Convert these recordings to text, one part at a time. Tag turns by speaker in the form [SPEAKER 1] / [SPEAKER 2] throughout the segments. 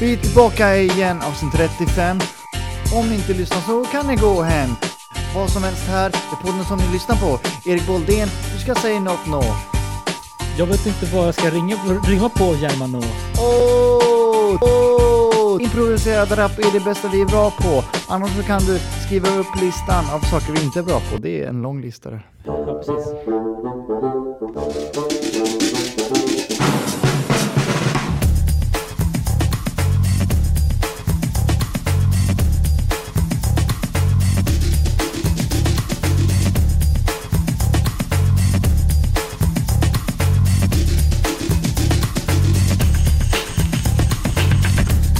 [SPEAKER 1] Vi är tillbaka igen avsnitt 35. Om ni inte lyssnar så kan ni gå hem. Vad som helst här är podden som ni lyssnar på. Erik Boldén, du ska säga något nå.
[SPEAKER 2] Jag vet inte vad jag ska ringa, ringa på Germano.
[SPEAKER 1] Åh! Åh! Improviserad rap är det bästa vi är bra på. Annars så kan du skriva upp listan av saker vi inte är bra på. Det är en lång lista där.
[SPEAKER 2] Ja, precis.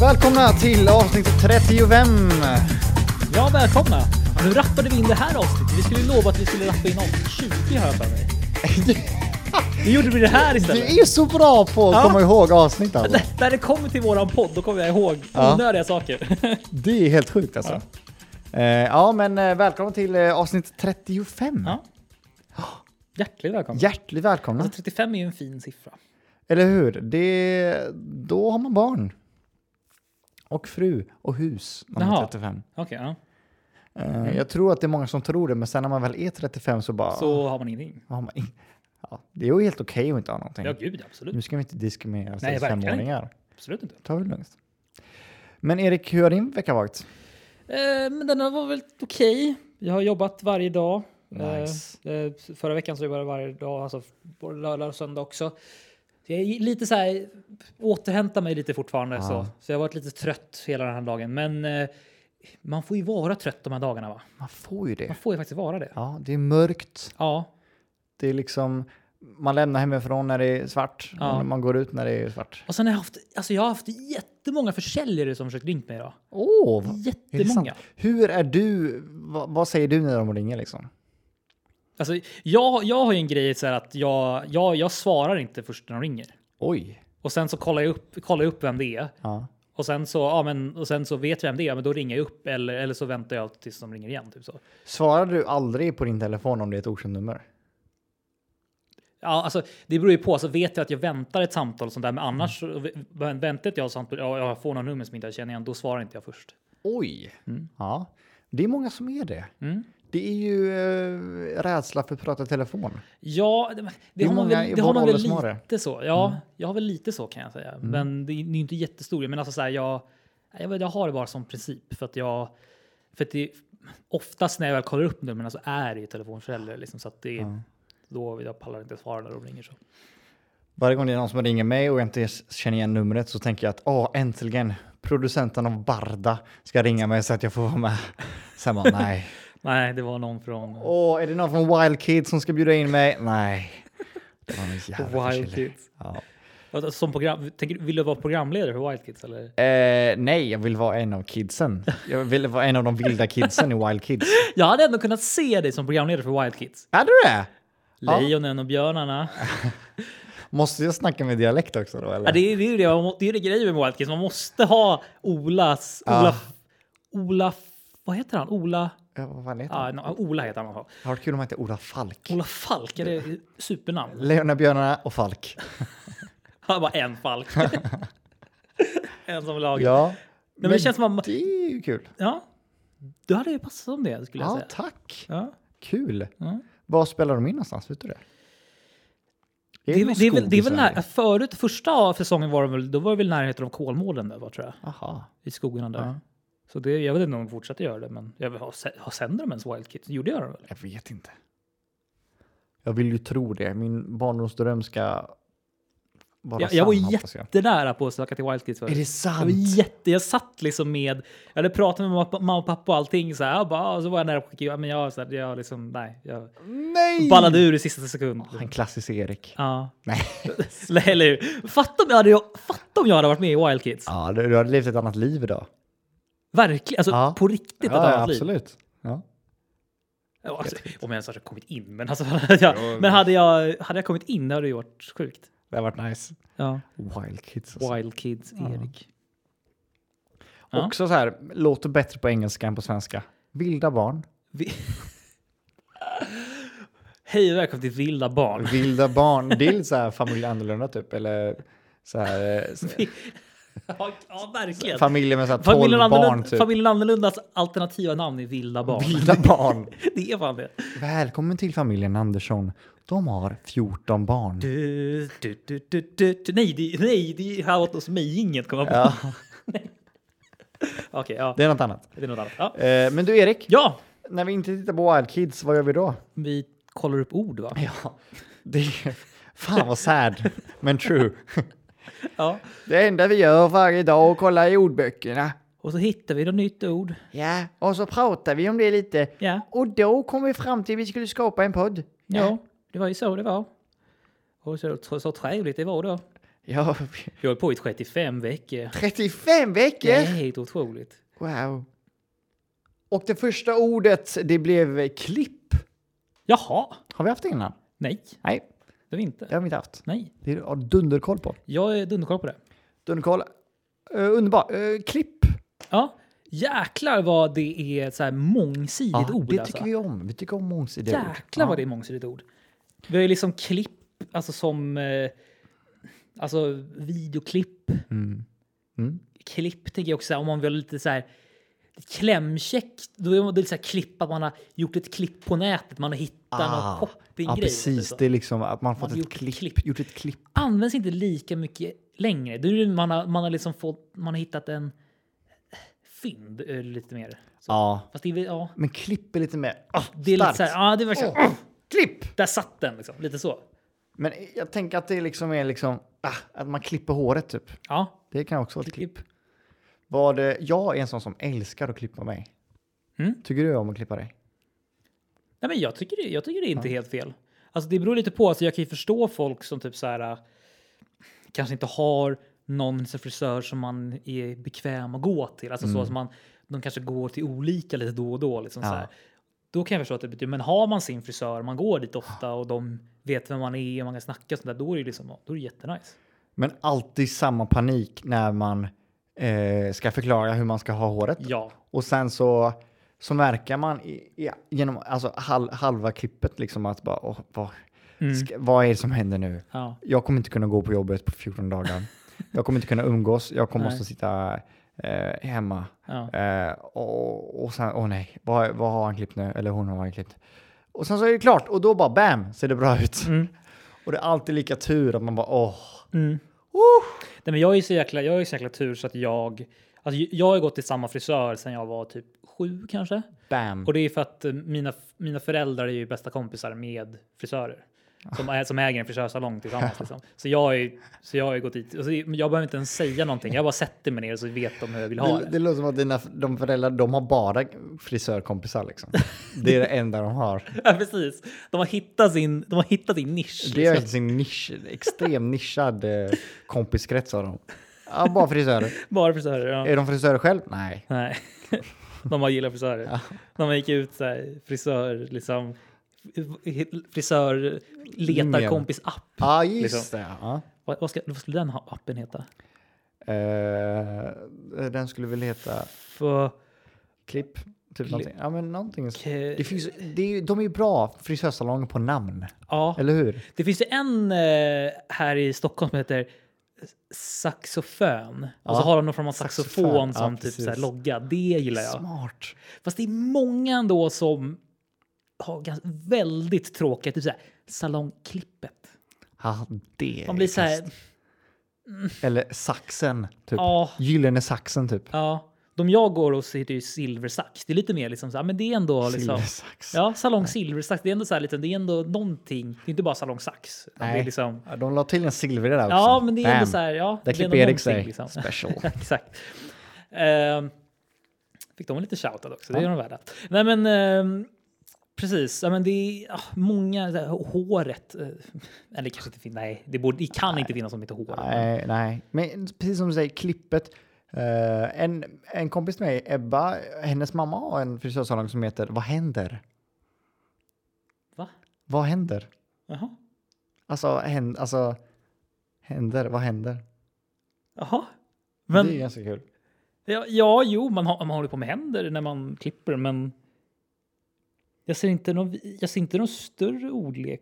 [SPEAKER 1] Välkomna till avsnitt 35.
[SPEAKER 2] Ja, välkomna! Nu rappade vi in det här avsnittet. Vi skulle ju lova att vi skulle rappa in avsnitt 20 har jag för mig. Nu gjorde vi det här
[SPEAKER 1] Du
[SPEAKER 2] istället.
[SPEAKER 1] är så bra på att
[SPEAKER 2] Ja.
[SPEAKER 1] komma ihåg avsnitt alltså.
[SPEAKER 2] När det kommer till våran podd, då kommer jag ihåg
[SPEAKER 1] Ja.
[SPEAKER 2] onödiga saker.
[SPEAKER 1] Det är helt sjukt alltså. Ja, ja men eh, välkomna till eh, avsnitt 35.
[SPEAKER 2] Ja. Hjärtligt välkomna.
[SPEAKER 1] Hjärtligt välkomna.
[SPEAKER 2] Alltså 35 är ju en fin siffra.
[SPEAKER 1] Eller hur? Det, då har man barn. Och fru och hus när man är
[SPEAKER 2] Jaha. Mm.
[SPEAKER 1] 35.
[SPEAKER 2] Okej, ja.
[SPEAKER 1] Eh, Jag tror att det är många som tror det, men sen när man väl är 35 så bara...
[SPEAKER 2] Så har man ingenting.
[SPEAKER 1] har man in- ja, det är ju helt okej att inte ha någonting.
[SPEAKER 2] Ja, gud absolut.
[SPEAKER 1] Nu ska vi inte diskriminera
[SPEAKER 2] verkligen
[SPEAKER 1] 65-åringar.
[SPEAKER 2] Absolut inte.
[SPEAKER 1] Ta det lugnt. Men Erik, hur har din vecka varit?
[SPEAKER 2] Eh, men den här var väl okej. Jag har jobbat varje dag.
[SPEAKER 1] Nice.
[SPEAKER 2] Eh, eh, förra veckan så jobbade jag varje dag, alltså både lördag och söndag också. Så Jag är lite så här, återhämtar mig lite fortfarande. Så. så jag har varit lite trött hela den här dagen. Men eh, man får ju vara trött de här dagarna va?
[SPEAKER 1] Man får ju det.
[SPEAKER 2] Man får ju faktiskt vara det.
[SPEAKER 1] Ja, det är mörkt.
[SPEAKER 2] Ja,
[SPEAKER 1] Det är liksom... Man lämnar hemifrån när det är svart.
[SPEAKER 2] Ja.
[SPEAKER 1] och Man går ut när det är svart.
[SPEAKER 2] och sen har jag haft, alltså jag har haft jättemånga försäljare som försökt ringa mig idag.
[SPEAKER 1] Åh! vad- är det sant?
[SPEAKER 2] Jättemånga.
[SPEAKER 1] Hur är du? Vad, vad säger du när de ringer liksom?
[SPEAKER 2] Alltså, jag, jag har ju en grej så här att jag, jag, jag svarar inte först när de ringer.
[SPEAKER 1] Oj!
[SPEAKER 2] Och sen så kollar jag upp, kollar jag upp vem det är.
[SPEAKER 1] Ja.
[SPEAKER 2] Och sen så, ja, men, och sen så vet jag vem det är, men då ringer jag upp eller, eller så väntar jag tills de ringer igen. Typ så.
[SPEAKER 1] Svarar du aldrig på din telefon om det är ett okänt nummer?
[SPEAKER 2] Ja, alltså, det beror ju på. Alltså, vet jag att jag väntar ett samtal och sånt där, men annars
[SPEAKER 1] Mm.
[SPEAKER 2] så- vä- väntar jag ett samtal och jag får något nummer som inte jag känner igen, då svarar inte jag först.
[SPEAKER 1] Oj! Mm. Ja. Det är många som är det.
[SPEAKER 2] Mm.
[SPEAKER 1] Det är ju eh, rädsla för att prata i telefon.
[SPEAKER 2] Ja, det, det,
[SPEAKER 1] är
[SPEAKER 2] har man
[SPEAKER 1] många i
[SPEAKER 2] väl, det har
[SPEAKER 1] vår
[SPEAKER 2] man väl
[SPEAKER 1] ålder som har Mm.
[SPEAKER 2] lite så. Ja, jag har väl lite så kan jag säga. Men det är det är ju inte jättestor. Men alltså så här, jag, jag, vet, jag har det bara som princip för att jag, för att det, oftast när jag väl kollar upp numren så är det ju telefonförälder liksom, så att det, då jag pallar inte svara när de ringer så.
[SPEAKER 1] Varje gång det är någon som ringer mig och jag inte s- känner igen numret så tänker jag att åh, äntligen producenten av Barda ska ringa mig så att jag får vara med. Sen bara nej.
[SPEAKER 2] Nej, det var någon från
[SPEAKER 1] Åh, är det någon från Wild Kids som ska bjuda in mig? Nej. Det var en jävla
[SPEAKER 2] Wild
[SPEAKER 1] förkylning.
[SPEAKER 2] Kids.
[SPEAKER 1] Ja.
[SPEAKER 2] Alltså, Som program, tänker, vill du vara programledare för Wild Kids eller?
[SPEAKER 1] Eh, nej, jag vill vara en av kidsen. Jag vill vara en av de vilda kidsen i Wild Kids.
[SPEAKER 2] Jag hade ändå kunnat se dig som programledare för Wild Kids.
[SPEAKER 1] Är du det? Ja.
[SPEAKER 2] Lejonen och björnarna.
[SPEAKER 1] Måste jag snacka med dialekt också då? Eller?
[SPEAKER 2] Ja, det, är, det, är ju det, man må- det är ju det grejen med Wild Kids. Man måste ha Olas... Ola, Ola... Vad heter han? Ola...
[SPEAKER 1] Ja, vad fan heter
[SPEAKER 2] Ja,
[SPEAKER 1] han?
[SPEAKER 2] no, Ola heter han. i alla fall.
[SPEAKER 1] Har varit kul om han hette Ola Falk.
[SPEAKER 2] Ola Falk, är det supernamn?
[SPEAKER 1] Lejonbjörnarna och Falk.
[SPEAKER 2] Han bara en Falk. en som lag. Ja,
[SPEAKER 1] Ja.
[SPEAKER 2] men det känns som att-
[SPEAKER 1] det är ju kul.
[SPEAKER 2] du hade ju passat som det skulle jag
[SPEAKER 1] Ja,
[SPEAKER 2] säga.
[SPEAKER 1] tack.
[SPEAKER 2] Ja.
[SPEAKER 1] Kul.
[SPEAKER 2] Ja.
[SPEAKER 1] Var spelar de in någonstans? Vet du det?
[SPEAKER 2] Det, är,
[SPEAKER 1] någon
[SPEAKER 2] det, är, väl-
[SPEAKER 1] skog
[SPEAKER 2] det
[SPEAKER 1] i
[SPEAKER 2] är väl
[SPEAKER 1] Sverige?
[SPEAKER 2] när, förut, första säsongen var det väl, då var det väl närheten av Kolmården där, var, tror jag.
[SPEAKER 1] Aha.
[SPEAKER 2] I skogarna där. Så det, jag vet inte om de fortsätter göra det, men jag, har, sä- har sänder de ens Wild Kids? Gjorde jag det väl?
[SPEAKER 1] Jag vet inte. Jag vill ju tro det. Min barndomsdröm ska vara
[SPEAKER 2] Jag,
[SPEAKER 1] sann,
[SPEAKER 2] jag var
[SPEAKER 1] hoppas jag.
[SPEAKER 2] jättenära på att söka till Wild Kids.
[SPEAKER 1] Är det
[SPEAKER 2] Jag,
[SPEAKER 1] sant?
[SPEAKER 2] var jätte, jag satt liksom med, jag hade pratat med mamma, mamma och pappa och allting så här, jag bara, och så var jag nära på att skicka, ja, men jag, så här, jag liksom, nej, jag
[SPEAKER 1] Nej!
[SPEAKER 2] ballade ur i sista sekund.
[SPEAKER 1] Han klassisk Erik.
[SPEAKER 2] Ja,
[SPEAKER 1] Nej.
[SPEAKER 2] eller eller hur? Fatta om jag hade, fatta om jag hade varit med i Wild Kids.
[SPEAKER 1] Ja, du, du hade levt ett annat liv idag.
[SPEAKER 2] Verkligen, alltså
[SPEAKER 1] Ja.
[SPEAKER 2] på riktigt ett annat liv.
[SPEAKER 1] absolut. Ja.
[SPEAKER 2] Ja, Alltså, om jag ens hade kommit in, men alltså, jag, men hade jag, hade jag kommit in, det hade ju varit sjukt.
[SPEAKER 1] Det har varit nice.
[SPEAKER 2] Ja.
[SPEAKER 1] Wild kids. Alltså.
[SPEAKER 2] Wild Kids Erik. Ja.
[SPEAKER 1] Också så här, låter bättre på engelska än på svenska. Vilda barn.
[SPEAKER 2] Vi... Hej och välkommen till Vilda Barn.
[SPEAKER 1] Vilda barn. Det är lite så här familj annorlunda typ. Eller så här, eh,
[SPEAKER 2] Ja, ja verkligen.
[SPEAKER 1] Familjer med så här 12
[SPEAKER 2] Familjen,
[SPEAKER 1] barn
[SPEAKER 2] annorlunda,
[SPEAKER 1] typ.
[SPEAKER 2] familjen Annorlundas alternativa namn är Vilda Barn.
[SPEAKER 1] Vilda barn.
[SPEAKER 2] Det är fan det.
[SPEAKER 1] Välkommen till familjen Andersson. De har 14 barn.
[SPEAKER 2] Du, du, du, du, du, du. Nej, det, nej, det är här åt oss mig inget komma på.
[SPEAKER 1] Ja,
[SPEAKER 2] Okej, ja,
[SPEAKER 1] det är något annat.
[SPEAKER 2] det är något annat. Ja.
[SPEAKER 1] Eh, men du Erik,
[SPEAKER 2] ja,
[SPEAKER 1] när vi inte tittar på Wild Kids, vad gör vi då?
[SPEAKER 2] vi kollar upp ord va?
[SPEAKER 1] Ja, det är... Fan vad sad, men true.
[SPEAKER 2] Ja.
[SPEAKER 1] Det enda vi gör varje dag är att kolla i ordböckerna.
[SPEAKER 2] Och så hittar vi något nytt ord.
[SPEAKER 1] Ja, och så pratar vi om det lite.
[SPEAKER 2] Ja,
[SPEAKER 1] Och då kom vi fram till att vi skulle skapa en podd.
[SPEAKER 2] ja, det var ju så det var. Och så, så, så trevligt det var då.
[SPEAKER 1] Ja,
[SPEAKER 2] Vi höll på i 35 veckor.
[SPEAKER 1] 35
[SPEAKER 2] Det är
[SPEAKER 1] veckor!
[SPEAKER 2] helt otroligt.
[SPEAKER 1] Wow. Och det första ordet, det blev klipp.
[SPEAKER 2] Jaha,
[SPEAKER 1] Har vi haft det innan?
[SPEAKER 2] nej,
[SPEAKER 1] Nej,
[SPEAKER 2] det har vi inte.
[SPEAKER 1] det har vi inte haft.
[SPEAKER 2] Nej,
[SPEAKER 1] Det har dunderkoll på.
[SPEAKER 2] jag är dunderkoll på det.
[SPEAKER 1] Dunderkoll. Uh, underbar. Eh, klipp.
[SPEAKER 2] Ja, jäklar vad det är ett så här mångsidigt ord.
[SPEAKER 1] det
[SPEAKER 2] alltså.
[SPEAKER 1] tycker vi om. Vi tycker om mångsidiga ord.
[SPEAKER 2] Jäklar vad det är mångsidigt ord. Vi har ju liksom klipp, alltså som eh, alltså videoklipp.
[SPEAKER 1] Mm. Mm.
[SPEAKER 2] Klipp tänker jag också, så här, om man vill ha lite så här klämkäckt, då är det lite så här klipp att man har gjort ett klipp på nätet, man har hittat någon
[SPEAKER 1] Ah. ja,
[SPEAKER 2] shoppinggrej.
[SPEAKER 1] precis.
[SPEAKER 2] liksom.
[SPEAKER 1] Det är liksom att man fått
[SPEAKER 2] Man har
[SPEAKER 1] ett
[SPEAKER 2] gjort ett
[SPEAKER 1] klipp,
[SPEAKER 2] klipp.
[SPEAKER 1] Gjort ett klipp.
[SPEAKER 2] Används inte lika mycket längre. Då är det, man, har, man har liksom fått, man har hittat en fynd eh, lite mer. Så.
[SPEAKER 1] Ja.
[SPEAKER 2] Fast det är, väl- ja,
[SPEAKER 1] Men klipp är lite mer... ah,
[SPEAKER 2] det är lite
[SPEAKER 1] starkt.
[SPEAKER 2] så här, ja det är verkligen,
[SPEAKER 1] Åh, klipp!
[SPEAKER 2] där satt den liksom, lite så.
[SPEAKER 1] Men jag tänker att det liksom är liksom... Ah, att man klipper håret typ.
[SPEAKER 2] Ja,
[SPEAKER 1] Det kan också vara ett klipp.
[SPEAKER 2] klipp.
[SPEAKER 1] Vad, eh, jag är en sån som älskar att klippa mig.
[SPEAKER 2] Mm.
[SPEAKER 1] Tycker du om att klippa dig?
[SPEAKER 2] Nej, men jag tycker det, jag tycker det är inte helt fel. Alltså det beror lite på. Alltså jag kan ju förstå folk som typ så här äh, kanske inte har någon så frisör som man är bekväm att gå till. Alltså så att man, de kanske går till olika lite då och då. Liksom
[SPEAKER 1] Ja.
[SPEAKER 2] så här. Då kan jag förstå att det betyder, men har man sin frisör, man går dit ofta och de vet vem man är och man kan snacka och sånt där, då är det liksom, då är det jättenice.
[SPEAKER 1] Men alltid samma panik när man eh, ska förklara hur man ska ha håret.
[SPEAKER 2] Ja,
[SPEAKER 1] Och sen så, så märker man i, i, genom alltså, hal, halva klippet liksom att bara, åh, vad,
[SPEAKER 2] Mm.
[SPEAKER 1] ska, vad är det som händer nu?
[SPEAKER 2] ja,
[SPEAKER 1] Jag kommer inte kunna gå på jobbet på 14 dagar. Jag kommer inte kunna umgås. Jag kommer
[SPEAKER 2] Nej.
[SPEAKER 1] måste sitta eh, hemma.
[SPEAKER 2] ja.
[SPEAKER 1] Eh, och, och sen, åh nej, vad, vad har han klippt nu? Eller hon har han klippt. Och sen så är det klart och då bara bam, ser det bra ut.
[SPEAKER 2] Mm.
[SPEAKER 1] Och det är alltid lika tur att man bara åh.
[SPEAKER 2] Mm. Nej, men jag är ju så jäkla, jag är ju så jäkla tur så att jag, alltså jag har ju gått till samma frisör sedan jag var typ sju kanske.
[SPEAKER 1] Bam.
[SPEAKER 2] Och det är för att eh, mina, mina föräldrar är ju bästa kompisar med frisörer. Som, är, som äger en frisörsalong tillsammans. Liksom. Så, jag har ju, så jag har ju gått dit. Alltså, jag behöver inte ens säga någonting. Jag bara sätter mig ner och så vet de hur jag vill ha
[SPEAKER 1] Det,
[SPEAKER 2] det.
[SPEAKER 1] det låter som att dina de föräldrar, de har bara frisörkompisar liksom. Det är det enda de har.
[SPEAKER 2] Ja, precis. De har hittat sin, de har hittat sin nisch.
[SPEAKER 1] Det är
[SPEAKER 2] Liksom.
[SPEAKER 1] verkligen sin nisch, extrem nischad eh, kompiskrets av dem. Ja, bara frisörer.
[SPEAKER 2] Bara frisörer. Ja.
[SPEAKER 1] Är de frisörer själv? Nej.
[SPEAKER 2] Nej. De bara gillar frisörer. De gick ut så här, frisör, liksom, frisör letar
[SPEAKER 1] Linjen.
[SPEAKER 2] kompis app.
[SPEAKER 1] Ja, just
[SPEAKER 2] Liksom.
[SPEAKER 1] det. Ja.
[SPEAKER 2] Vad, vad, ska, vad skulle den ha- appen heta?
[SPEAKER 1] Eh, den skulle väl heta
[SPEAKER 2] För,
[SPEAKER 1] klipp. Typ någonting. Ja, men någonting. så-
[SPEAKER 2] Okej.
[SPEAKER 1] Det finns, det är, ju- de är ju bra frisörsalonger på namn,
[SPEAKER 2] ja.
[SPEAKER 1] eller hur?
[SPEAKER 2] Det finns ju en eh, här i Stockholm som heter saxofön.
[SPEAKER 1] Ja.
[SPEAKER 2] Och så har de någon form av saxofon,
[SPEAKER 1] Saxofon, ja,
[SPEAKER 2] som typ
[SPEAKER 1] precis.
[SPEAKER 2] så här logga. Det gillar jag.
[SPEAKER 1] Smart.
[SPEAKER 2] Fast det är många ändå som har ganska, väldigt tråkiga, typ så här, salongklippet.
[SPEAKER 1] Ja, det
[SPEAKER 2] Man blir
[SPEAKER 1] är
[SPEAKER 2] så här,
[SPEAKER 1] kast. Eller saxen, typ.
[SPEAKER 2] ja,
[SPEAKER 1] Gyllene saxen, typ.
[SPEAKER 2] ja. De jag går hos heter ju silversax. Det är lite mer liksom så här, men det är ändå liksom.
[SPEAKER 1] Silversax.
[SPEAKER 2] Ja, salong silversax. Det är ändå så här lite, det är ändå någonting. Det är inte bara salongsax. Det
[SPEAKER 1] Nej.
[SPEAKER 2] är liksom,
[SPEAKER 1] Ja, De la till en silver där också.
[SPEAKER 2] ja, men det är ändå
[SPEAKER 1] Bam.
[SPEAKER 2] så här, ja.
[SPEAKER 1] Där
[SPEAKER 2] det är ändå
[SPEAKER 1] klipper Erik
[SPEAKER 2] någonting,
[SPEAKER 1] sig.
[SPEAKER 2] liksom.
[SPEAKER 1] Special.
[SPEAKER 2] Exakt. Ehm, fick de en liten shoutout också, det är de värda. Nej men ehm, precis, ja, men det är ah, många, så här, håret, eh, eller kanske inte finns, nej det, borde, det kan inte finnas som heter hår.
[SPEAKER 1] Nej, nej. Men precis som du säger, klippet. eh, en, en kompis med mig, Ebba, hennes mamma har en frisörsalong som heter Vad händer?
[SPEAKER 2] Va?
[SPEAKER 1] Vad händer?
[SPEAKER 2] Jaha?
[SPEAKER 1] Alltså, hän, alltså händer, vad händer?
[SPEAKER 2] Jaha?
[SPEAKER 1] det är
[SPEAKER 2] Men,
[SPEAKER 1] ganska kul.
[SPEAKER 2] ja, ja, jo, man, har, man håller på med händer när man klipper, men jag ser inte någon, jag ser inte någon större ordlek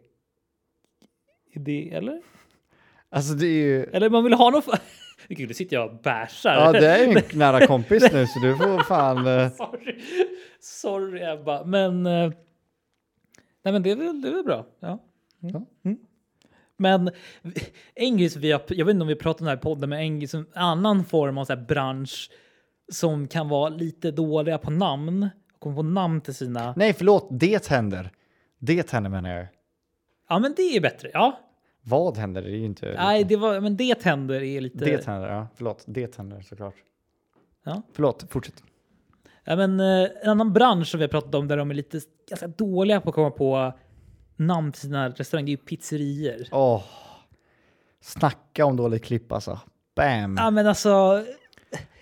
[SPEAKER 2] i det, eller?
[SPEAKER 1] Alltså det är ju...
[SPEAKER 2] Eller man vill ha någon... Gud, nu sitter jag och bärsar.
[SPEAKER 1] Ja, det är ju en nära kompis nu så du får fan... eh,
[SPEAKER 2] Sorry. Sorry Ebba, men... eh, Nej men det är väl, det är väl bra. Ja. Mm. Mm. Men en grej som vi har, jag vet inte om vi pratar om det här i podden, men en, grej som, annan form av så här bransch som kan vara lite dåliga på namn, kommer på namn till sina...
[SPEAKER 1] Nej, förlåt. Det händer. Det händer menar jag.
[SPEAKER 2] Ja men det är bättre, ja.
[SPEAKER 1] Vad händer? Det är ju inte...
[SPEAKER 2] Nej, det var, men det händer är lite...
[SPEAKER 1] Det händer, ja. Förlåt. Det händer såklart.
[SPEAKER 2] Ja.
[SPEAKER 1] Förlåt, fortsätt.
[SPEAKER 2] Ja, men, eh, en annan bransch som vi har pratat om där de är lite ganska dåliga på att komma på namn till sina restauranger, det är ju pizzerier.
[SPEAKER 1] Åh. Snacka om dåligt klipp alltså. Bam!
[SPEAKER 2] Ja, men alltså,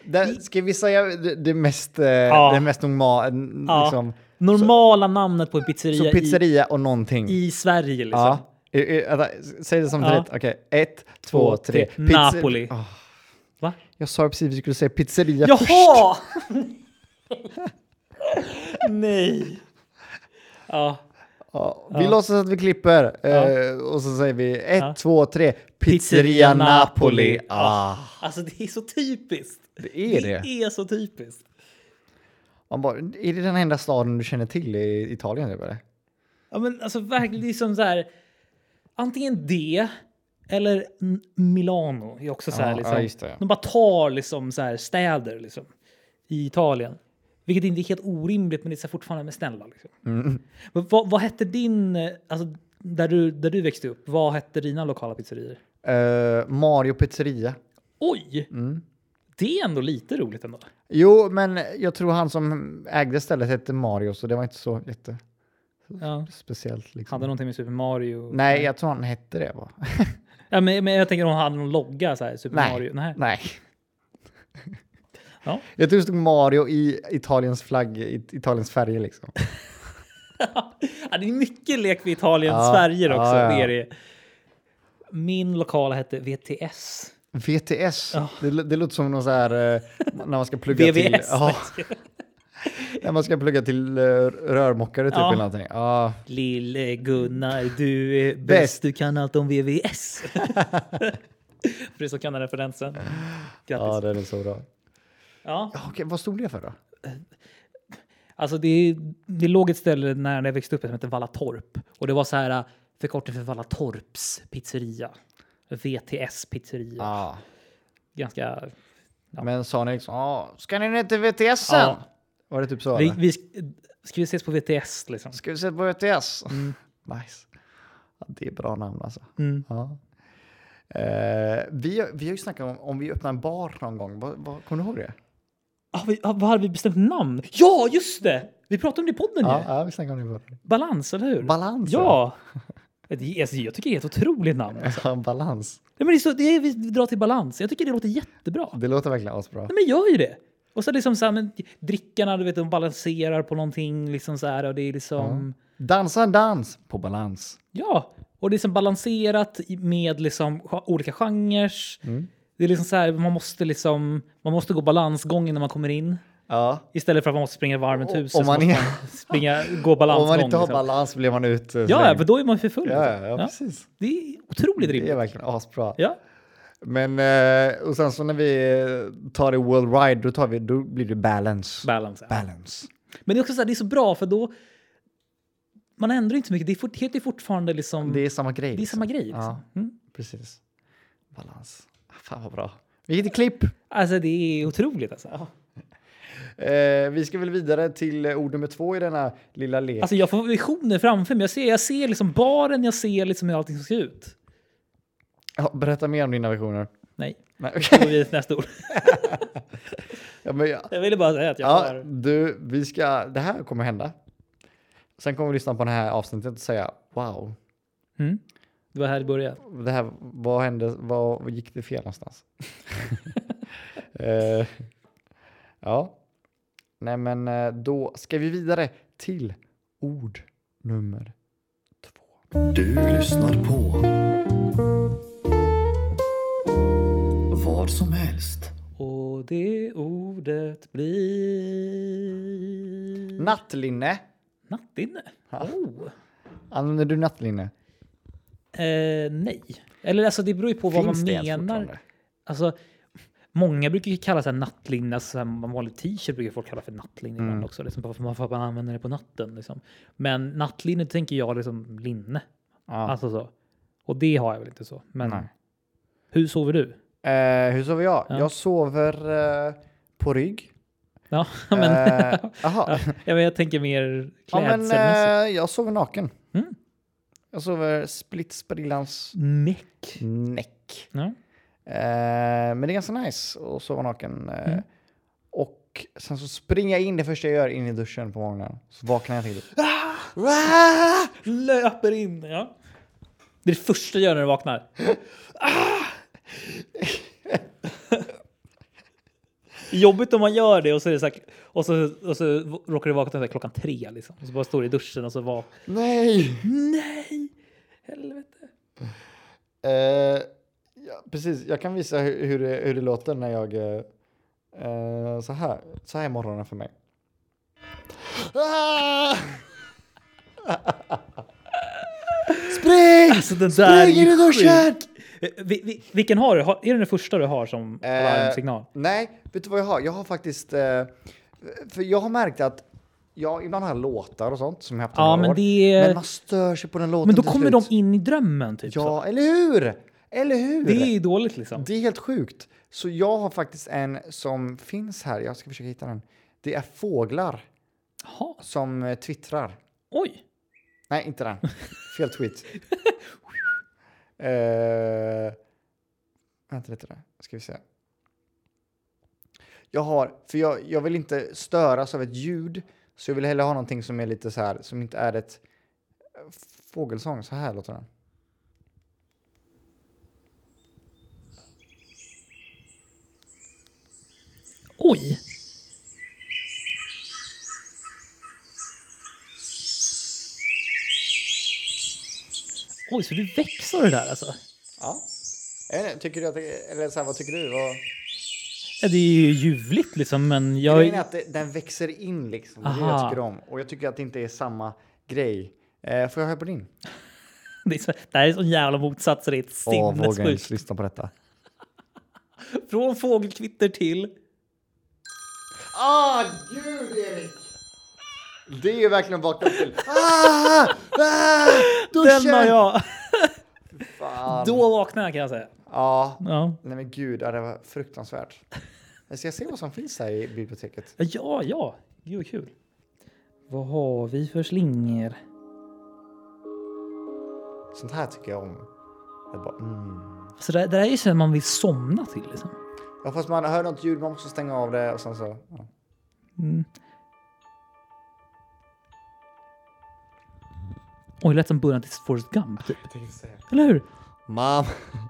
[SPEAKER 1] Där, ska vi säga det, det mest, eh, det mest normala?
[SPEAKER 2] Ja.
[SPEAKER 1] Liksom,
[SPEAKER 2] normala namnet på en pizzeria,
[SPEAKER 1] så pizzeria och någonting.
[SPEAKER 2] i, i Sverige. Liksom.
[SPEAKER 1] ja. I- i- vänta, s- Säg det som
[SPEAKER 2] Ja.
[SPEAKER 1] rätt. Okej, ett, två, tre. Pizzer-
[SPEAKER 2] Napoli.
[SPEAKER 1] Åh,
[SPEAKER 2] Va?
[SPEAKER 1] jag sa ju precis att vi skulle säga pizzeria först.
[SPEAKER 2] Jaha! Nej. Ja,
[SPEAKER 1] Ja, vi låtsas att vi klipper eh, och så säger vi ett,
[SPEAKER 2] Ja.
[SPEAKER 1] två, tre.
[SPEAKER 2] Pizzeria
[SPEAKER 1] Pizzeria Napoli.
[SPEAKER 2] Napoli.
[SPEAKER 1] Ah.
[SPEAKER 2] alltså det är så typiskt.
[SPEAKER 1] Det är det.
[SPEAKER 2] Det är så typiskt.
[SPEAKER 1] Man bara, är det den enda staden du känner till i Italien? Typ, eller?
[SPEAKER 2] Ja, men alltså verkligen, det är som så här. Antingen det eller N- Milano är också så här.
[SPEAKER 1] Ja,
[SPEAKER 2] liksom,
[SPEAKER 1] ja, just det.
[SPEAKER 2] De bara tar liksom så här städer liksom, i Italien. Vilket inte är helt orimligt, men det är så här fortfarande med snälla. Liksom.
[SPEAKER 1] Mm.
[SPEAKER 2] Men vad, vad hette din, eh, alltså, där, du, där du växte upp, vad hette dina lokala pizzerior?
[SPEAKER 1] Eh, Mario pizzeria.
[SPEAKER 2] Oj!
[SPEAKER 1] Mm.
[SPEAKER 2] Det är ändå lite roligt ändå.
[SPEAKER 1] Jo, men jag tror han som ägde stället hette Mario, så det var inte så jätte
[SPEAKER 2] Ja.
[SPEAKER 1] speciellt. Liksom.
[SPEAKER 2] Hade någonting med Super Mario?
[SPEAKER 1] Nej, jag tror han hette det. Va?
[SPEAKER 2] Ja, men, men jag tänker om han hade någon logga så här, Super
[SPEAKER 1] Nej.
[SPEAKER 2] Mario? Nej.
[SPEAKER 1] Nej.
[SPEAKER 2] Ja.
[SPEAKER 1] Jag tror det stod Mario i Italiens flagg, i Italiens färger liksom.
[SPEAKER 2] Ja, det är mycket lek vid Italien
[SPEAKER 1] Ja,
[SPEAKER 2] Sverige också.
[SPEAKER 1] ja, ja.
[SPEAKER 2] Det är det. Min lokala hette VTS.
[SPEAKER 1] VTS,
[SPEAKER 2] Ja.
[SPEAKER 1] det, lå- det låter som någon så här eh, när man ska plugga till...
[SPEAKER 2] VVS,
[SPEAKER 1] Ja, när man ska plugga till eh, rörmokare typ
[SPEAKER 2] Ja.
[SPEAKER 1] eller någonting. Ja.
[SPEAKER 2] Lille Gunnar, du är bäst.
[SPEAKER 1] Bäst.
[SPEAKER 2] Du kan allt om VVS. För det som kan den referensen.
[SPEAKER 1] ja,
[SPEAKER 2] Grattis.
[SPEAKER 1] det är nog så bra.
[SPEAKER 2] Ja,
[SPEAKER 1] Ja, okej, vad stod det för då?
[SPEAKER 2] alltså det, det låg ett ställe när jag växte upp som hette Vallatorp. Och det var så här förkortning för Vallatorps pizzeria. VTS pizzeria.
[SPEAKER 1] Ja.
[SPEAKER 2] Ganska...
[SPEAKER 1] Men sa ni liksom, ja, ska ni ner till VTS sen?
[SPEAKER 2] Ja.
[SPEAKER 1] Var det typ så?
[SPEAKER 2] Vi,
[SPEAKER 1] eller?
[SPEAKER 2] vi, sk- ska vi ses på VTS liksom?
[SPEAKER 1] Ska vi se på VTS? Nice. Ja, det är bra namn alltså.
[SPEAKER 2] Mm.
[SPEAKER 1] Ja. Eh, vi, har- vi har ju snackat om om vi öppnar en bar någon gång. Vad, vad, kommer du ihåg det?
[SPEAKER 2] Har vi, har, vad hade vi bestämt namn? Ja, just det! Vi pratade om det i podden
[SPEAKER 1] Ja,
[SPEAKER 2] ju.
[SPEAKER 1] ja, vi snackade om det förut.
[SPEAKER 2] Balans, eller hur?
[SPEAKER 1] Balans.
[SPEAKER 2] Ja! Det- Alltså, jag tycker det är ett otroligt namn. Nej,
[SPEAKER 1] ja. Balans.
[SPEAKER 2] men det är så, det är, vi drar till balans. Jag tycker det låter jättebra. Nej,
[SPEAKER 1] Det låter verkligen asbra.
[SPEAKER 2] men det gör ju det. Och så liksom så här, men drickarna, du vet, de balanserar på någonting. Liksom så här, och det är liksom...
[SPEAKER 1] Dansa en dans på balans.
[SPEAKER 2] Ja! Och det är liksom balanserat i- med liksom ja, olika genrer. Det är liksom så här, man måste liksom... Man måste gå balansgången när man kommer in.
[SPEAKER 1] Ja.
[SPEAKER 2] Istället för att man måste springa varv runt
[SPEAKER 1] Om-
[SPEAKER 2] huset.
[SPEAKER 1] om
[SPEAKER 2] så
[SPEAKER 1] man
[SPEAKER 2] måste
[SPEAKER 1] är-
[SPEAKER 2] man springa, gå balansgång.
[SPEAKER 1] Om man inte har
[SPEAKER 2] liksom.
[SPEAKER 1] balans blir man ut. eh,
[SPEAKER 2] Ja, ja,
[SPEAKER 1] slängd.
[SPEAKER 2] för då är man för full.
[SPEAKER 1] ja,
[SPEAKER 2] liksom.
[SPEAKER 1] ja, ja,
[SPEAKER 2] Ja.
[SPEAKER 1] precis.
[SPEAKER 2] Det är otroligt
[SPEAKER 1] Det är
[SPEAKER 2] rimligt.
[SPEAKER 1] verkligen asbra.
[SPEAKER 2] Ja.
[SPEAKER 1] Men eh, och sen så när vi eh, tar det World Ride, då, tar vi, då blir det balance.
[SPEAKER 2] Balance. ja.
[SPEAKER 1] balance.
[SPEAKER 2] Men det är också så här, det är så bra för då... Man ändrar inte så mycket. Det är, fort, det är fortfarande liksom...
[SPEAKER 1] Det
[SPEAKER 2] Det
[SPEAKER 1] är samma grej.
[SPEAKER 2] är, samma grej. Liksom.
[SPEAKER 1] Ja.
[SPEAKER 2] Mm.
[SPEAKER 1] Precis. Balans. Ah, Fan vad bra. Vilket klipp!
[SPEAKER 2] Alltså det är otroligt alltså.
[SPEAKER 1] Eh, vi ska väl vidare till eh, ord nummer två i denna lilla lek.
[SPEAKER 2] Alltså jag får visioner framför mig. Jag ser, jag ser liksom baren, jag ser liksom hur allting ser ut.
[SPEAKER 1] Ja, berätta mer om dina versioner.
[SPEAKER 2] Nej,
[SPEAKER 1] Nej,
[SPEAKER 2] då
[SPEAKER 1] okej.
[SPEAKER 2] går vi till nästa ord.
[SPEAKER 1] ja, men, ja.
[SPEAKER 2] Jag ville bara säga att jag
[SPEAKER 1] Ja,
[SPEAKER 2] har...
[SPEAKER 1] du, vi ska, det här kommer hända. Sen kommer vi lyssna på det här avsnittet och säga wow,
[SPEAKER 2] Mm. Det var här det började.
[SPEAKER 1] det här, vad hände, vad, vad gick det fel någonstans? eh, ja, nej men eh, då ska vi vidare till ord nummer två.
[SPEAKER 3] Du lyssnar på vad som helst.
[SPEAKER 2] Och det ordet blir...
[SPEAKER 1] Nattlinne.
[SPEAKER 2] Nattdinne? Oh.
[SPEAKER 1] Använder du nattlinne?
[SPEAKER 2] Eh, nej. Eller alltså det beror ju på vad man
[SPEAKER 1] ens
[SPEAKER 2] menar.
[SPEAKER 1] fortfarande?
[SPEAKER 2] Alltså, Många brukar ju kalla så här nattlinne, alltså så här, en vanlig t-shirt brukar folk kalla för nattlinne
[SPEAKER 1] Mm.
[SPEAKER 2] ibland också. Liksom, varför man, för att man använder det på natten. Liksom. Men nattlinne tänker jag liksom linne.
[SPEAKER 1] Ja.
[SPEAKER 2] Alltså så. Och det har jag väl inte så. Men
[SPEAKER 1] Nej.
[SPEAKER 2] hur sover du?
[SPEAKER 1] Eh, hur sover jag?
[SPEAKER 2] Ja.
[SPEAKER 1] Jag sover eh, på rygg.
[SPEAKER 2] Ja, men,
[SPEAKER 1] Eh, aha.
[SPEAKER 2] ja, men jag tänker mer
[SPEAKER 1] ja, men,
[SPEAKER 2] klädselmässigt.
[SPEAKER 1] eh, jag sover naken.
[SPEAKER 2] Mm.
[SPEAKER 1] Jag sover splitt sprillans
[SPEAKER 2] Näck.
[SPEAKER 1] näck.
[SPEAKER 2] Ja.
[SPEAKER 1] Eh, men det är ganska nice att sova naken. Eh,
[SPEAKER 2] Mm.
[SPEAKER 1] Och sen så springer jag in det första jag gör in i duschen på morgonen. Så vaknar jag till.
[SPEAKER 2] Löper in. Ja. Det är det första du gör när du vaknar. Ah! Jobbigt om man gör det och så, är det så, här, och så, och så råkar du vakna så här klockan tre. Liksom. Och så bara står du i duschen och så var
[SPEAKER 1] Nej!
[SPEAKER 2] Nej! Helvete.
[SPEAKER 1] Eh, ja, precis, jag kan visa hur, hur, det, hur det låter när jag... eh, Eh, så här. Så här är morgonen för mig. Ah! Spring!
[SPEAKER 2] Alltså den där
[SPEAKER 1] Spring in i
[SPEAKER 2] är
[SPEAKER 1] duschen!
[SPEAKER 2] sjuk. Eh, vi- vi- Vilken har du? Har- Är det den första du har som alarmsignal?
[SPEAKER 1] Eh, nej, vet du vad jag har? Jag har faktiskt... Eh, för jag har märkt att jag ibland har jag låtar och sånt som jag haft i
[SPEAKER 2] Ja,
[SPEAKER 1] några
[SPEAKER 2] men
[SPEAKER 1] år.
[SPEAKER 2] det
[SPEAKER 1] Men
[SPEAKER 2] är...
[SPEAKER 1] man stör sig på den låten
[SPEAKER 2] Men då
[SPEAKER 1] till
[SPEAKER 2] kommer de
[SPEAKER 1] slut.
[SPEAKER 2] in i drömmen typ. Så.
[SPEAKER 1] Ja, eller hur? Eller hur?
[SPEAKER 2] Det är ju dåligt liksom.
[SPEAKER 1] Det är helt sjukt. Så jag har faktiskt en som finns här. Jag ska försöka hitta den. Det är fåglar
[SPEAKER 2] Jaha,
[SPEAKER 1] som eh, twittrar.
[SPEAKER 2] oj.
[SPEAKER 1] Nej, inte den. Fel tweet. uh, vänta lite där. Ska vi se. Jag har, för jag, jag vill inte störas av ett ljud. Så jag vill hellre ha någonting som är lite så här, som inte är ett eh, fågelsång. Så här låter den.
[SPEAKER 2] Oj. Oj, så du växer det där alltså?
[SPEAKER 1] Ja. Jag vet inte, tycker du att det, eller så här, vad tycker du? Vad...
[SPEAKER 2] Ja, det är ju ljuvligt liksom, men jag...
[SPEAKER 1] Grejen är att det, den växer in liksom. Det är det jag
[SPEAKER 2] Aha.
[SPEAKER 1] tycker om. Och jag tycker att det inte är samma grej. Eh, får jag höra på din?
[SPEAKER 2] Det, är så, det här är så jävla motsatser, det är ett sinnessjukt.
[SPEAKER 1] lyssna på detta.
[SPEAKER 2] Från fågelkvitter till...
[SPEAKER 1] Ah, gud Erik! Det är ju verkligen vakna upp till. Ah! Ah! Duschen!
[SPEAKER 2] Den har jag!
[SPEAKER 1] Fan.
[SPEAKER 2] Då vaknar jag kan jag säga.
[SPEAKER 1] Ja.
[SPEAKER 2] Ja,
[SPEAKER 1] Nej men gud, ja, det var fruktansvärt. Jag ska se vad som finns här i biblioteket.
[SPEAKER 2] ja, ja. Gud vad kul. Vad har vi för slingor?
[SPEAKER 1] Sånt här tycker jag om. Jag bara, mm.
[SPEAKER 2] Alltså, det, det där är ju så att man vill somna till liksom.
[SPEAKER 1] Ja, fast man hör något ljud, man måste stänga av det och sen så. Ja.
[SPEAKER 2] Mm. Oj, lät som början till Forrest Gump typ. Eller hur?
[SPEAKER 1] Mom,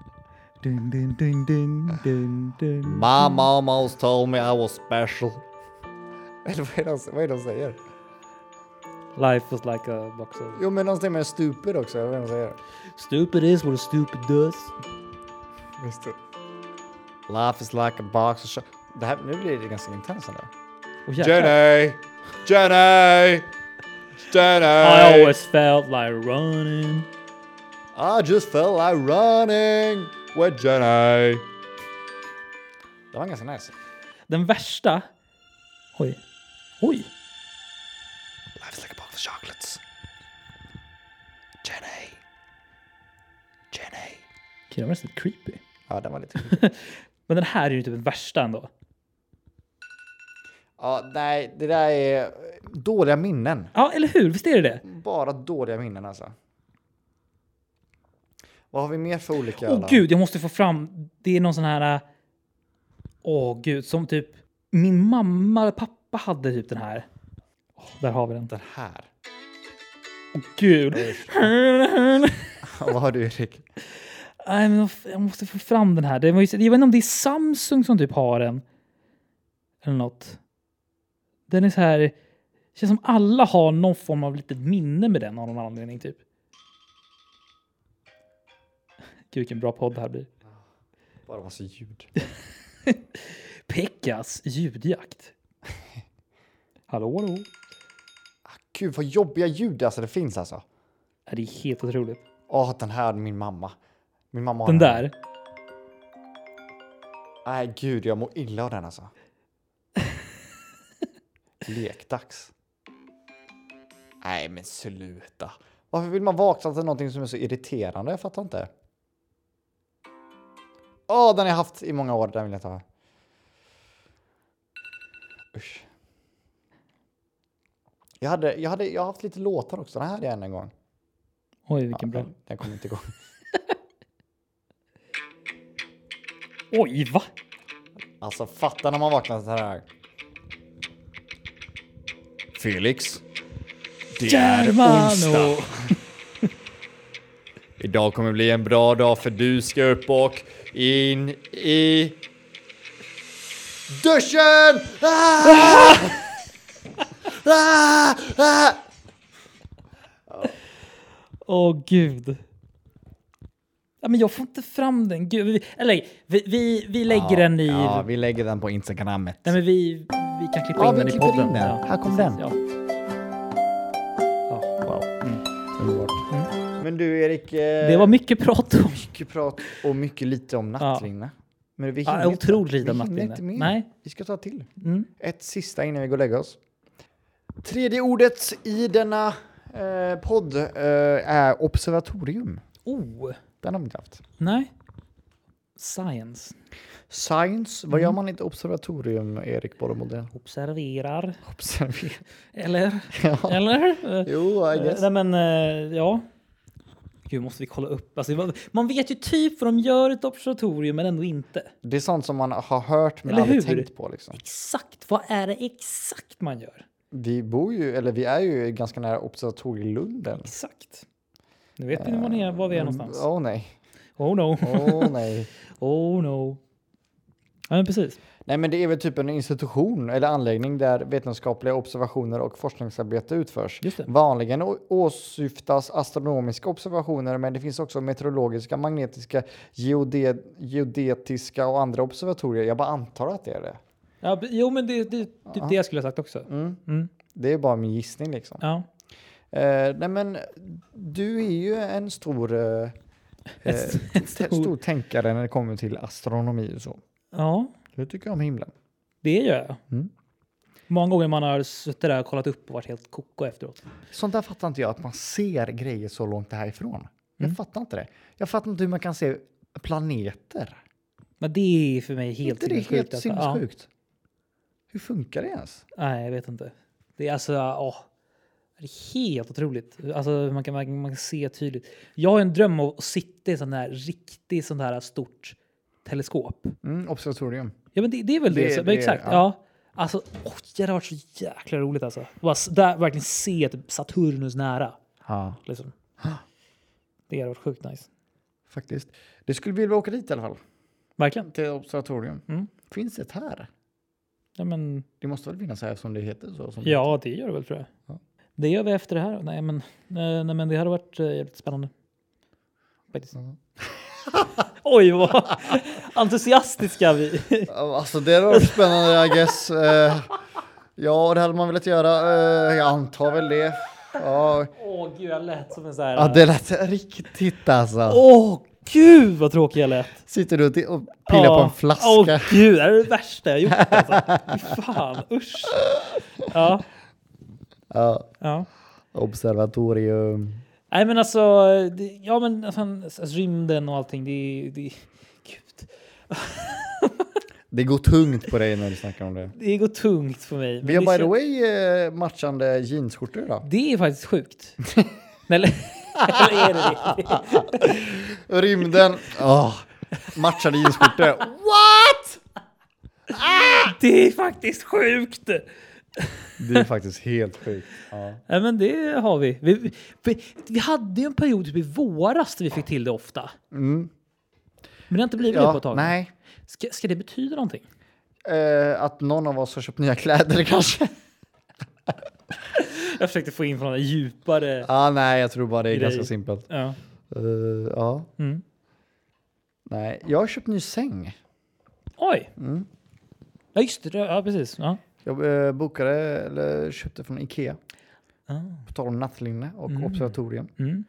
[SPEAKER 2] Dun, dun, dun, dun, dun, dun.
[SPEAKER 1] my mom always told me I was special. Eller vad är det de, vad är det de säger?
[SPEAKER 2] Life was like a box of...
[SPEAKER 1] Jo men någonting med stupid också, eller vad är det de säger?
[SPEAKER 2] Stupid is what a stupid does.
[SPEAKER 1] Just det. Life is like a box of cho- det här, Nu blir det ganska intens ändå.
[SPEAKER 2] Och Oh, jäklar.
[SPEAKER 1] Jenny! Jenny!
[SPEAKER 2] I
[SPEAKER 1] Jenny!
[SPEAKER 2] always felt like running.
[SPEAKER 1] I just felt like running with Jenny. Det var ganska nice.
[SPEAKER 2] Den värsta... Oj. Oj.
[SPEAKER 1] Life is like a box of chocolates. Jenny. Jenny.
[SPEAKER 2] Okej, den var nästan lite creepy.
[SPEAKER 1] Ja, den var lite...
[SPEAKER 2] Men den här är ju typ den värsta ändå.
[SPEAKER 1] ja, nej, det där är dåliga minnen.
[SPEAKER 2] Ja, eller hur? Visst är det det?
[SPEAKER 1] Bara dåliga minnen alltså. Vad har vi mer för olika?
[SPEAKER 2] Åh
[SPEAKER 1] alla?
[SPEAKER 2] gud, jag måste få fram. Det är någon sån här... äh, Åh gud, som typ... Min mamma eller pappa hade typ den här. Åh, där har vi den.
[SPEAKER 1] Den här.
[SPEAKER 2] Åh gud.
[SPEAKER 1] Vad har du Erik?
[SPEAKER 2] Nej, men vad- jag måste få fram den här. Det var ju, jag vet inte om det är Samsung som typ har den. Eller något. Den är så här... Det känns som alla har någon form av litet minne med den av någon anledning typ. Gud vilken bra podd det här blir.
[SPEAKER 1] Bara massa ljud.
[SPEAKER 2] Pekkas ljudjakt. Hallå, hallå.
[SPEAKER 1] Gud vad jobbiga ljud alltså det finns alltså.
[SPEAKER 2] Ja, Det är helt otroligt.
[SPEAKER 1] Åh, den här min mamma. Min mamma har
[SPEAKER 2] Den där.
[SPEAKER 1] Nej, gud, jag mår illa av den alltså. Lekdags. Nej, men sluta. Varför vill man vakna till någonting som är så irriterande? Jag fattar inte. Åh, den har jag haft i många år. Den vill jag ta. Usch. Jag, hade, jag, hade, jag har haft lite låtar också. Den här hade jag en gång.
[SPEAKER 2] Oj, vilken bra.
[SPEAKER 1] Den, den kommer inte igång.
[SPEAKER 2] Oj, va?
[SPEAKER 1] Alltså fatta när man vaknar så här. Felix. Det
[SPEAKER 2] Germano!
[SPEAKER 1] Idag kommer bli en bra dag för du ska upp och in i duschen! Ah! Ah! Ah!
[SPEAKER 2] Åh gud. Ja, men jag får inte fram den. Gud, vi, eller vi, vi, vi lägger den i...
[SPEAKER 1] Ja, vi lägger den på Instagrammet.
[SPEAKER 2] Nej, men vi, vi kan klippa
[SPEAKER 1] Ja,
[SPEAKER 2] in
[SPEAKER 1] vi
[SPEAKER 2] den i
[SPEAKER 1] klipper
[SPEAKER 2] podden.
[SPEAKER 1] in den.
[SPEAKER 2] Ja,
[SPEAKER 1] Här kommer
[SPEAKER 2] precis,
[SPEAKER 1] den.
[SPEAKER 2] Ja.
[SPEAKER 1] Wow. Underbart. Men du Erik, eh,
[SPEAKER 2] Det var mycket prat om.
[SPEAKER 1] mycket prat och mycket lite om nattrinne. Men vi
[SPEAKER 2] Ja,
[SPEAKER 1] hinner inte.
[SPEAKER 2] otroligt lite om
[SPEAKER 1] Vi hinner
[SPEAKER 2] nattrinne.
[SPEAKER 1] inte mer.
[SPEAKER 2] Nej.
[SPEAKER 1] Vi ska ta till.
[SPEAKER 2] Mm.
[SPEAKER 1] Ett sista innan vi går och lägger oss. Tredje ordet i denna eh, podd eh, är observatorium.
[SPEAKER 2] Oh,
[SPEAKER 1] Den har vi inte haft.
[SPEAKER 2] nej. Science.
[SPEAKER 1] Science. Vad gör
[SPEAKER 2] Mm.
[SPEAKER 1] man i ett observatorium, Erik Borremodell?
[SPEAKER 2] Observerar.
[SPEAKER 1] Observera.
[SPEAKER 2] Eller?
[SPEAKER 1] Ja.
[SPEAKER 2] Eller? Eh,
[SPEAKER 1] Jo, I
[SPEAKER 2] Eh,
[SPEAKER 1] guess.
[SPEAKER 2] Nej men eh, ja. Gud måste vi kolla upp. Alltså, man- man vet ju typ vad de gör i ett observatorium men ändå inte.
[SPEAKER 1] Det är sånt som man har hört men
[SPEAKER 2] Eller
[SPEAKER 1] aldrig
[SPEAKER 2] hur?
[SPEAKER 1] tänkt på. Liksom.
[SPEAKER 2] Exakt vad är det exakt man gör?
[SPEAKER 1] Vi bor ju, eller vi är ju ganska nära observatorielunden. Mm,
[SPEAKER 2] Exakt. Nu vet ni var, ni är, var
[SPEAKER 1] Eh,
[SPEAKER 2] vi är någonstans.
[SPEAKER 1] Åh nej.
[SPEAKER 2] Oh no.
[SPEAKER 1] Åh nej.
[SPEAKER 2] Oh no. Ja men precis.
[SPEAKER 1] Nej, men det är väl typ en institution eller anläggning där vetenskapliga observationer och forskningsarbete utförs.
[SPEAKER 2] Just det.
[SPEAKER 1] Vanligen å- åsyftas astronomiska observationer, men det finns också meteorologiska, magnetiska, geode geodetiska och andra observatorier. Jag bara antar att det är det.
[SPEAKER 2] Ja, b- jo men det är det, typ det jag skulle ha sagt också.
[SPEAKER 1] Mm.
[SPEAKER 2] Mm.
[SPEAKER 1] Det är bara min gissning liksom.
[SPEAKER 2] Ja.
[SPEAKER 1] Eh, nej, men du är ju en stor, eh, eh,
[SPEAKER 2] Ett, ett
[SPEAKER 1] t-
[SPEAKER 2] stort.
[SPEAKER 1] stor tänkare när det kommer till astronomi och så.
[SPEAKER 2] Ja,
[SPEAKER 1] Du tycker om himlen.
[SPEAKER 2] det gör jag.
[SPEAKER 1] Mm.
[SPEAKER 2] Många gånger man har suttit där och kollat upp och varit helt koko efteråt.
[SPEAKER 1] Sånt där fattar inte jag, att man ser grejer så långt härifrån. Jag fattar inte det. Jag fattar inte hur man kan se planeter.
[SPEAKER 2] Men det är för mig helt
[SPEAKER 1] inte det är
[SPEAKER 2] sinnessjukt,
[SPEAKER 1] helt
[SPEAKER 2] alltså. Ja.
[SPEAKER 1] sinnessjukt? Hur funkar det ens?
[SPEAKER 2] Nej, jag vet inte. Det är alltså, åh, det är helt otroligt. Alltså, man, kan, man, kan- man kan se tydligt. Jag har en dröm om att sitta i sån här riktigt sån här stort teleskop.
[SPEAKER 1] Mm, observatorium.
[SPEAKER 2] Ja, men det, det är väl det.
[SPEAKER 1] Det-
[SPEAKER 2] så, men
[SPEAKER 1] det-
[SPEAKER 2] exakt.
[SPEAKER 1] ja.
[SPEAKER 2] Ja. Alltså, åh, det hade varit så jäkla roligt alltså. Bara, s- där, verkligen se typ Saturnus nära.
[SPEAKER 1] Ja,
[SPEAKER 2] Liksom. Det hade varit sjukt nice.
[SPEAKER 1] faktiskt. Det skulle vi vilja åka dit i alla fall.
[SPEAKER 2] Verkligen.
[SPEAKER 1] Till observatorium.
[SPEAKER 2] Mm.
[SPEAKER 1] Finns det här?
[SPEAKER 2] Ja, men,
[SPEAKER 1] Det måste väl finnas här som det heter så? Som
[SPEAKER 2] ja, det gör det väl tror jag.
[SPEAKER 1] Ja.
[SPEAKER 2] Det gör vi efter det här. Nej, men, nej, nej, men det hade varit eh, jävligt spännande. Faktiskt.
[SPEAKER 1] Mm.
[SPEAKER 2] Oj, vad entusiastiska vi
[SPEAKER 1] Alltså det var spännande I guess. Eh, ja, det hade man velat göra. Eh, jag antar väl det. Ja,
[SPEAKER 2] Åh gud, jag lät som en sån här...
[SPEAKER 1] Ja, det lät riktigt alltså.
[SPEAKER 2] Åh gud vad tråkig jag lät!
[SPEAKER 1] Sitter du och ti- och pillar på
[SPEAKER 2] Ja.
[SPEAKER 1] en flaska?
[SPEAKER 2] Åh gud, det här är det värsta jag gjort alltså. Fy Fan, usch! Ja,
[SPEAKER 1] Ja,
[SPEAKER 2] ja.
[SPEAKER 1] observatorium.
[SPEAKER 2] Nej men alltså, det, ja men fan, alltså, rymden och allting, det, det, gud.
[SPEAKER 1] Det går tungt på dig när du snackar om det.
[SPEAKER 2] det går tungt för mig. men
[SPEAKER 1] Vi har
[SPEAKER 2] det
[SPEAKER 1] by the
[SPEAKER 2] kän-
[SPEAKER 1] way eh, matchande jeansskjortor idag.
[SPEAKER 2] Det är faktiskt sjukt. Eller, eller är det det?
[SPEAKER 1] Rymden. Oh, matchande jeansskjortor. What?
[SPEAKER 2] Det är faktiskt sjukt!
[SPEAKER 1] Det är faktiskt helt sjukt. Ja.
[SPEAKER 2] Nej, men det har vi. Vi, vi, vi hade ju en period typ i våras där vi fick till det ofta.
[SPEAKER 1] Mm.
[SPEAKER 2] Men det har inte blivit det på ett
[SPEAKER 1] Ja,
[SPEAKER 2] tag.
[SPEAKER 1] nej.
[SPEAKER 2] Ska, ska det betyda någonting?
[SPEAKER 1] Eh, att någon av oss har köpt nya kläder kanske?
[SPEAKER 2] Jag försökte få in från det djupare...
[SPEAKER 1] ah, nej, jag tror bara det är
[SPEAKER 2] Grej.
[SPEAKER 1] ganska simpelt.
[SPEAKER 2] Ja.
[SPEAKER 1] Eh, ja.
[SPEAKER 2] Mm.
[SPEAKER 1] Nej, jag har köpt ny säng.
[SPEAKER 2] Oj!
[SPEAKER 1] Mm.
[SPEAKER 2] Ja, just det. Ja, precis. Ja.
[SPEAKER 1] Jag eh, bokade, eller köpte från Ikea.
[SPEAKER 2] Ah.
[SPEAKER 1] På tal om nattlinne och
[SPEAKER 2] Mm.
[SPEAKER 1] observatorium.
[SPEAKER 2] Mm.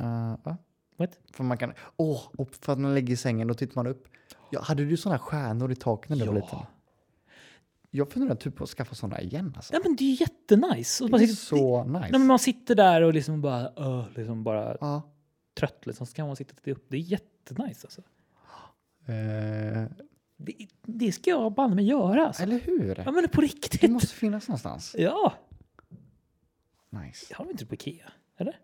[SPEAKER 1] Eh, va?
[SPEAKER 2] What?
[SPEAKER 1] För man kan, åh, oh, för att man lägger i sängen, då tittar man upp. Ja, hade du sådana stjärnor i taket när du var
[SPEAKER 2] Ja.
[SPEAKER 1] liten? Jag funderar typ på att skaffa sådana igen. Alltså.
[SPEAKER 2] Nej, men det är ju jättenice. Och man
[SPEAKER 1] Det är
[SPEAKER 2] sitter,
[SPEAKER 1] så nice.
[SPEAKER 2] nej, men man sitter där och liksom bara, öh, liksom bara
[SPEAKER 1] ja.
[SPEAKER 2] trött liksom. Så kan man sitta och titta upp. Det är jättenice alltså.
[SPEAKER 1] eh,
[SPEAKER 2] Det, det ska jag banne mig göra alltså.
[SPEAKER 1] eller hur?
[SPEAKER 2] Ja men på
[SPEAKER 1] Det
[SPEAKER 2] riktigt.
[SPEAKER 1] måste finnas någonstans.
[SPEAKER 2] Ja,
[SPEAKER 1] Nice.
[SPEAKER 2] det har de inte på Ikea. Eller?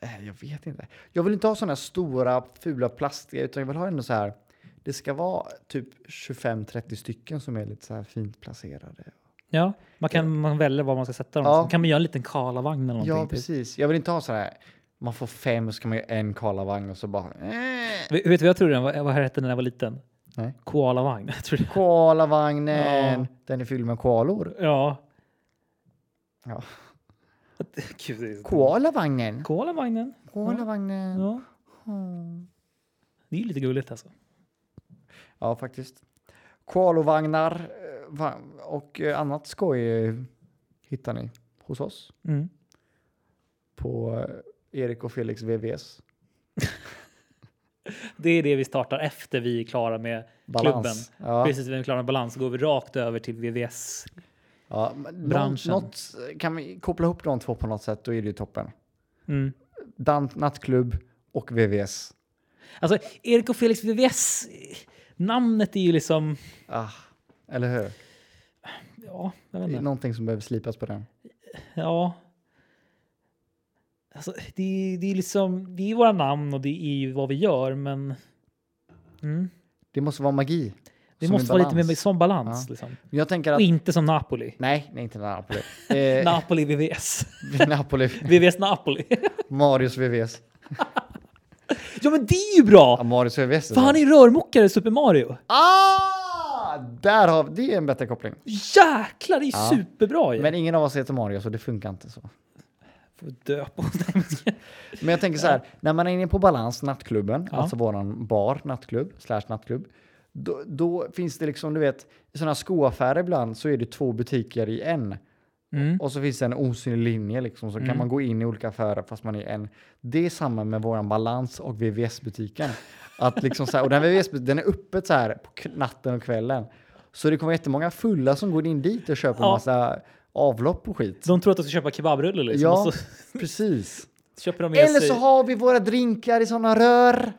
[SPEAKER 1] Eh, Jag vet inte. Jag vill inte ha sådana stora fula plastiga utan jag vill ha ändå så här. Det ska vara typ 25-30 stycken som är lite så här fint placerade.
[SPEAKER 2] Ja, man kan man välja var man ska sätta dem.
[SPEAKER 1] Ja.
[SPEAKER 2] Ja. Kan man göra en liten Karlavagn eller någonting?
[SPEAKER 1] Ja,
[SPEAKER 2] typ.
[SPEAKER 1] precis. Jag vill inte ha så här. Man får fem och så kan man göra en Karlavagn och så bara. Eh.
[SPEAKER 2] Vet vet du vad jag trodde den var? Vad hette den när jag var liten?
[SPEAKER 1] Nej.
[SPEAKER 2] Koalavagn. Jag trodde-
[SPEAKER 1] Koalavagnen.
[SPEAKER 2] Ja.
[SPEAKER 1] Den är fylld med koalor.
[SPEAKER 2] Ja.
[SPEAKER 1] Ja.
[SPEAKER 2] Gud, det är så-
[SPEAKER 1] Koalavagnen.
[SPEAKER 2] Koalavagnen.
[SPEAKER 1] Koalavagnen.
[SPEAKER 2] Ja. Det är ju lite gulligt alltså.
[SPEAKER 1] Ja, faktiskt. Koalovagnar eh, va- och eh, annat skoj eh, hittar ni hos oss
[SPEAKER 2] Mm.
[SPEAKER 1] på eh, Erik och Felix VVS.
[SPEAKER 2] Det är det vi startar efter vi är klara med
[SPEAKER 1] Balans.
[SPEAKER 2] klubben.
[SPEAKER 1] Ja,
[SPEAKER 2] Precis, vi är klara med balans så går vi rakt över till VVS.
[SPEAKER 1] ja, men nå-
[SPEAKER 2] Branschen.
[SPEAKER 1] Något, kan vi koppla ihop de två på något sätt, då är det ju toppen.
[SPEAKER 2] Mm.
[SPEAKER 1] Dan, nattklubb och VVS.
[SPEAKER 2] Alltså, Erik och Felix VVS, eh, namnet är ju liksom...
[SPEAKER 1] Ah, eller hur?
[SPEAKER 2] Ja, jag vet
[SPEAKER 1] Det är
[SPEAKER 2] inte.
[SPEAKER 1] någonting som behöver slipas på den.
[SPEAKER 2] Ja. Alltså, det, är- det är liksom... Det är våra namn och det är ju vad vi gör, men... Mm.
[SPEAKER 1] Det måste vara magi.
[SPEAKER 2] Det
[SPEAKER 1] som i
[SPEAKER 2] måste vara lite
[SPEAKER 1] balans.
[SPEAKER 2] mer som balans.
[SPEAKER 1] Ja.
[SPEAKER 2] Liksom.
[SPEAKER 1] Jag tänker att...
[SPEAKER 2] Och inte som Napoli.
[SPEAKER 1] Nej, nej, inte Napoli. Eh,
[SPEAKER 2] Napoli VVS.
[SPEAKER 1] Napoli.
[SPEAKER 2] VVS Napoli.
[SPEAKER 1] Marius VVS.
[SPEAKER 2] ja men det är ju
[SPEAKER 1] Ja,
[SPEAKER 2] bra!
[SPEAKER 1] Marius VVS.
[SPEAKER 2] För han är ju rörmokare i Super Mario.
[SPEAKER 1] Ah! Där har vi, det är en bättre koppling.
[SPEAKER 2] Jäklar, det är
[SPEAKER 1] Ja.
[SPEAKER 2] superbra ju!
[SPEAKER 1] Men ingen av oss heter Mario så det funkar inte så.
[SPEAKER 2] Får dö på Nej, men-
[SPEAKER 1] Men jag tänker så här, när man är inne på Balans, nattklubben,
[SPEAKER 2] Ja.
[SPEAKER 1] alltså våran bar, nattklubb, slash nattklubb, då, då finns det liksom, du vet, i sådana skoaffärer ibland så är det två butiker i en.
[SPEAKER 2] Mm.
[SPEAKER 1] Och så finns det en osynlig linje liksom, så kan man gå in i olika affärer fast man är en. Det är samma med våran Balans och VVS-butiken. Att liksom så här, och den VVS den är öppet så här på k- natten och kvällen. Så det kommer jättemånga fulla som går in dit och köper en
[SPEAKER 2] Ja.
[SPEAKER 1] massa avlopp och skit.
[SPEAKER 2] De tror att de ska köpa kebabrulle liksom.
[SPEAKER 1] Ja,
[SPEAKER 2] Och så
[SPEAKER 1] precis.
[SPEAKER 2] köper de med
[SPEAKER 1] Eller
[SPEAKER 2] sig...
[SPEAKER 1] så har vi våra drinkar i sådana rör.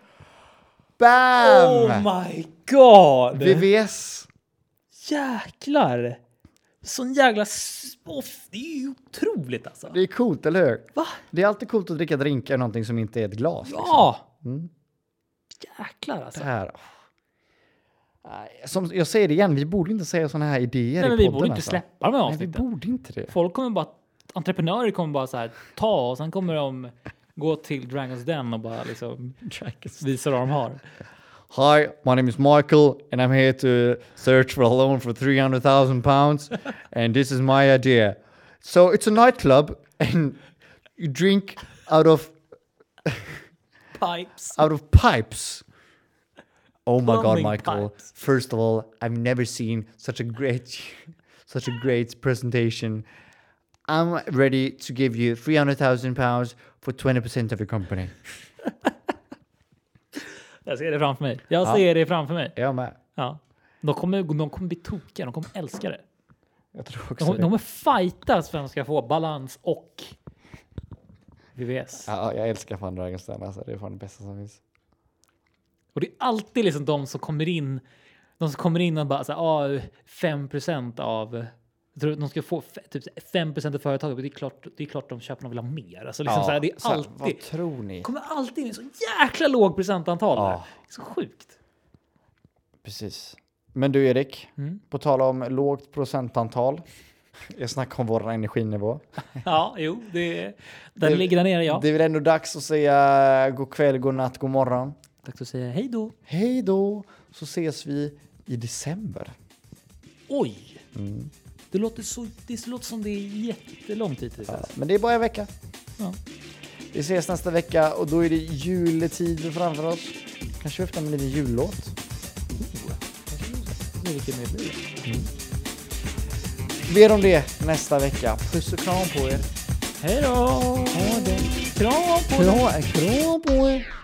[SPEAKER 1] Bam!
[SPEAKER 2] Oh my god!
[SPEAKER 1] VVS.
[SPEAKER 2] Jäklar! Sån jävla... s- Åh, det är ju otroligt alltså.
[SPEAKER 1] Det är coolt, eller hur?
[SPEAKER 2] Va?
[SPEAKER 1] Det är alltid coolt att dricka drinkar i någonting som inte är ett glas. liksom.
[SPEAKER 2] Ja!
[SPEAKER 1] Mm.
[SPEAKER 2] Jäklar alltså.
[SPEAKER 1] Det här. åh. Nej, Som jag säger det igen, vi borde inte säga sådana här idéer
[SPEAKER 2] Nej,
[SPEAKER 1] i
[SPEAKER 2] men vi
[SPEAKER 1] podden.
[SPEAKER 2] borde inte
[SPEAKER 1] alltså.
[SPEAKER 2] släppa de här
[SPEAKER 1] Nej, vi
[SPEAKER 2] avsnitten.
[SPEAKER 1] borde inte det.
[SPEAKER 2] Folk kommer bara, entreprenörer kommer bara så här ta och sen kommer de gå till Dragons Den och bara liksom visa vad de har.
[SPEAKER 1] Hi, my name is Michael and I'm here to search for a loan for 300,000 pounds and this is my idea. So it's a nightclub and you drink out of
[SPEAKER 2] Pipes.
[SPEAKER 1] out of pipes. Oh my god,
[SPEAKER 2] Plumbing
[SPEAKER 1] Michael.
[SPEAKER 2] pipes.
[SPEAKER 1] First of all, I've never seen such a great such a great presentation. I'm ready to give you 300,000 pounds for 20% of your company.
[SPEAKER 2] Jag ser det framför mig. Jag ser det framför mig.
[SPEAKER 1] Jag med.
[SPEAKER 2] Ja. De kommer, de kommer bli tokiga, de kommer älska det.
[SPEAKER 1] Jag tror
[SPEAKER 2] De,
[SPEAKER 1] också
[SPEAKER 2] kommer- de
[SPEAKER 1] det.
[SPEAKER 2] kommer fightas för att de ska få balans och VVS.
[SPEAKER 1] Ja, jag älskar fan Dragon's Den, alltså. Det är fan det bästa som finns.
[SPEAKER 2] Och det är alltid liksom de som kommer in, de som kommer in och bara så här, ah, 5% av jag tror att de ska få f- typ 5% av företaget, men det är klart, det är klart de köper, de vill ha mer. Alltså liksom så här, det är
[SPEAKER 1] så här,
[SPEAKER 2] alltid,
[SPEAKER 1] Vad tror ni?
[SPEAKER 2] kommer alltid in så jäkla låg procentantal. där.
[SPEAKER 1] Ja.
[SPEAKER 2] Det är Så sjukt.
[SPEAKER 1] Precis. Men du Erik,
[SPEAKER 2] Mm.
[SPEAKER 1] på tal om lågt procentantal. Jag snackar om vår energinivå.
[SPEAKER 2] Ja, jo, det, där
[SPEAKER 1] Det-
[SPEAKER 2] ligger där nere ja.
[SPEAKER 1] Det är väl ändå dags att säga god kväll, god natt, god morgon.
[SPEAKER 2] Dags att säga hej då.
[SPEAKER 1] Hej då, så ses vi i december.
[SPEAKER 2] Oj!
[SPEAKER 1] Mm.
[SPEAKER 2] Det, låter så, det låter som det är jättelång tid tills dess.
[SPEAKER 1] Men det är bara en vecka.
[SPEAKER 2] Ja.
[SPEAKER 1] Vi ses nästa vecka och då är det juletid framför oss. Kanske öppna med en liten jullåt.
[SPEAKER 2] Det är vilken det blir.
[SPEAKER 1] Ber om det nästa vecka. Puss och kram på er.
[SPEAKER 2] Hej då!
[SPEAKER 1] Ha det.
[SPEAKER 2] Kram på dig!
[SPEAKER 1] Kram, kram på er.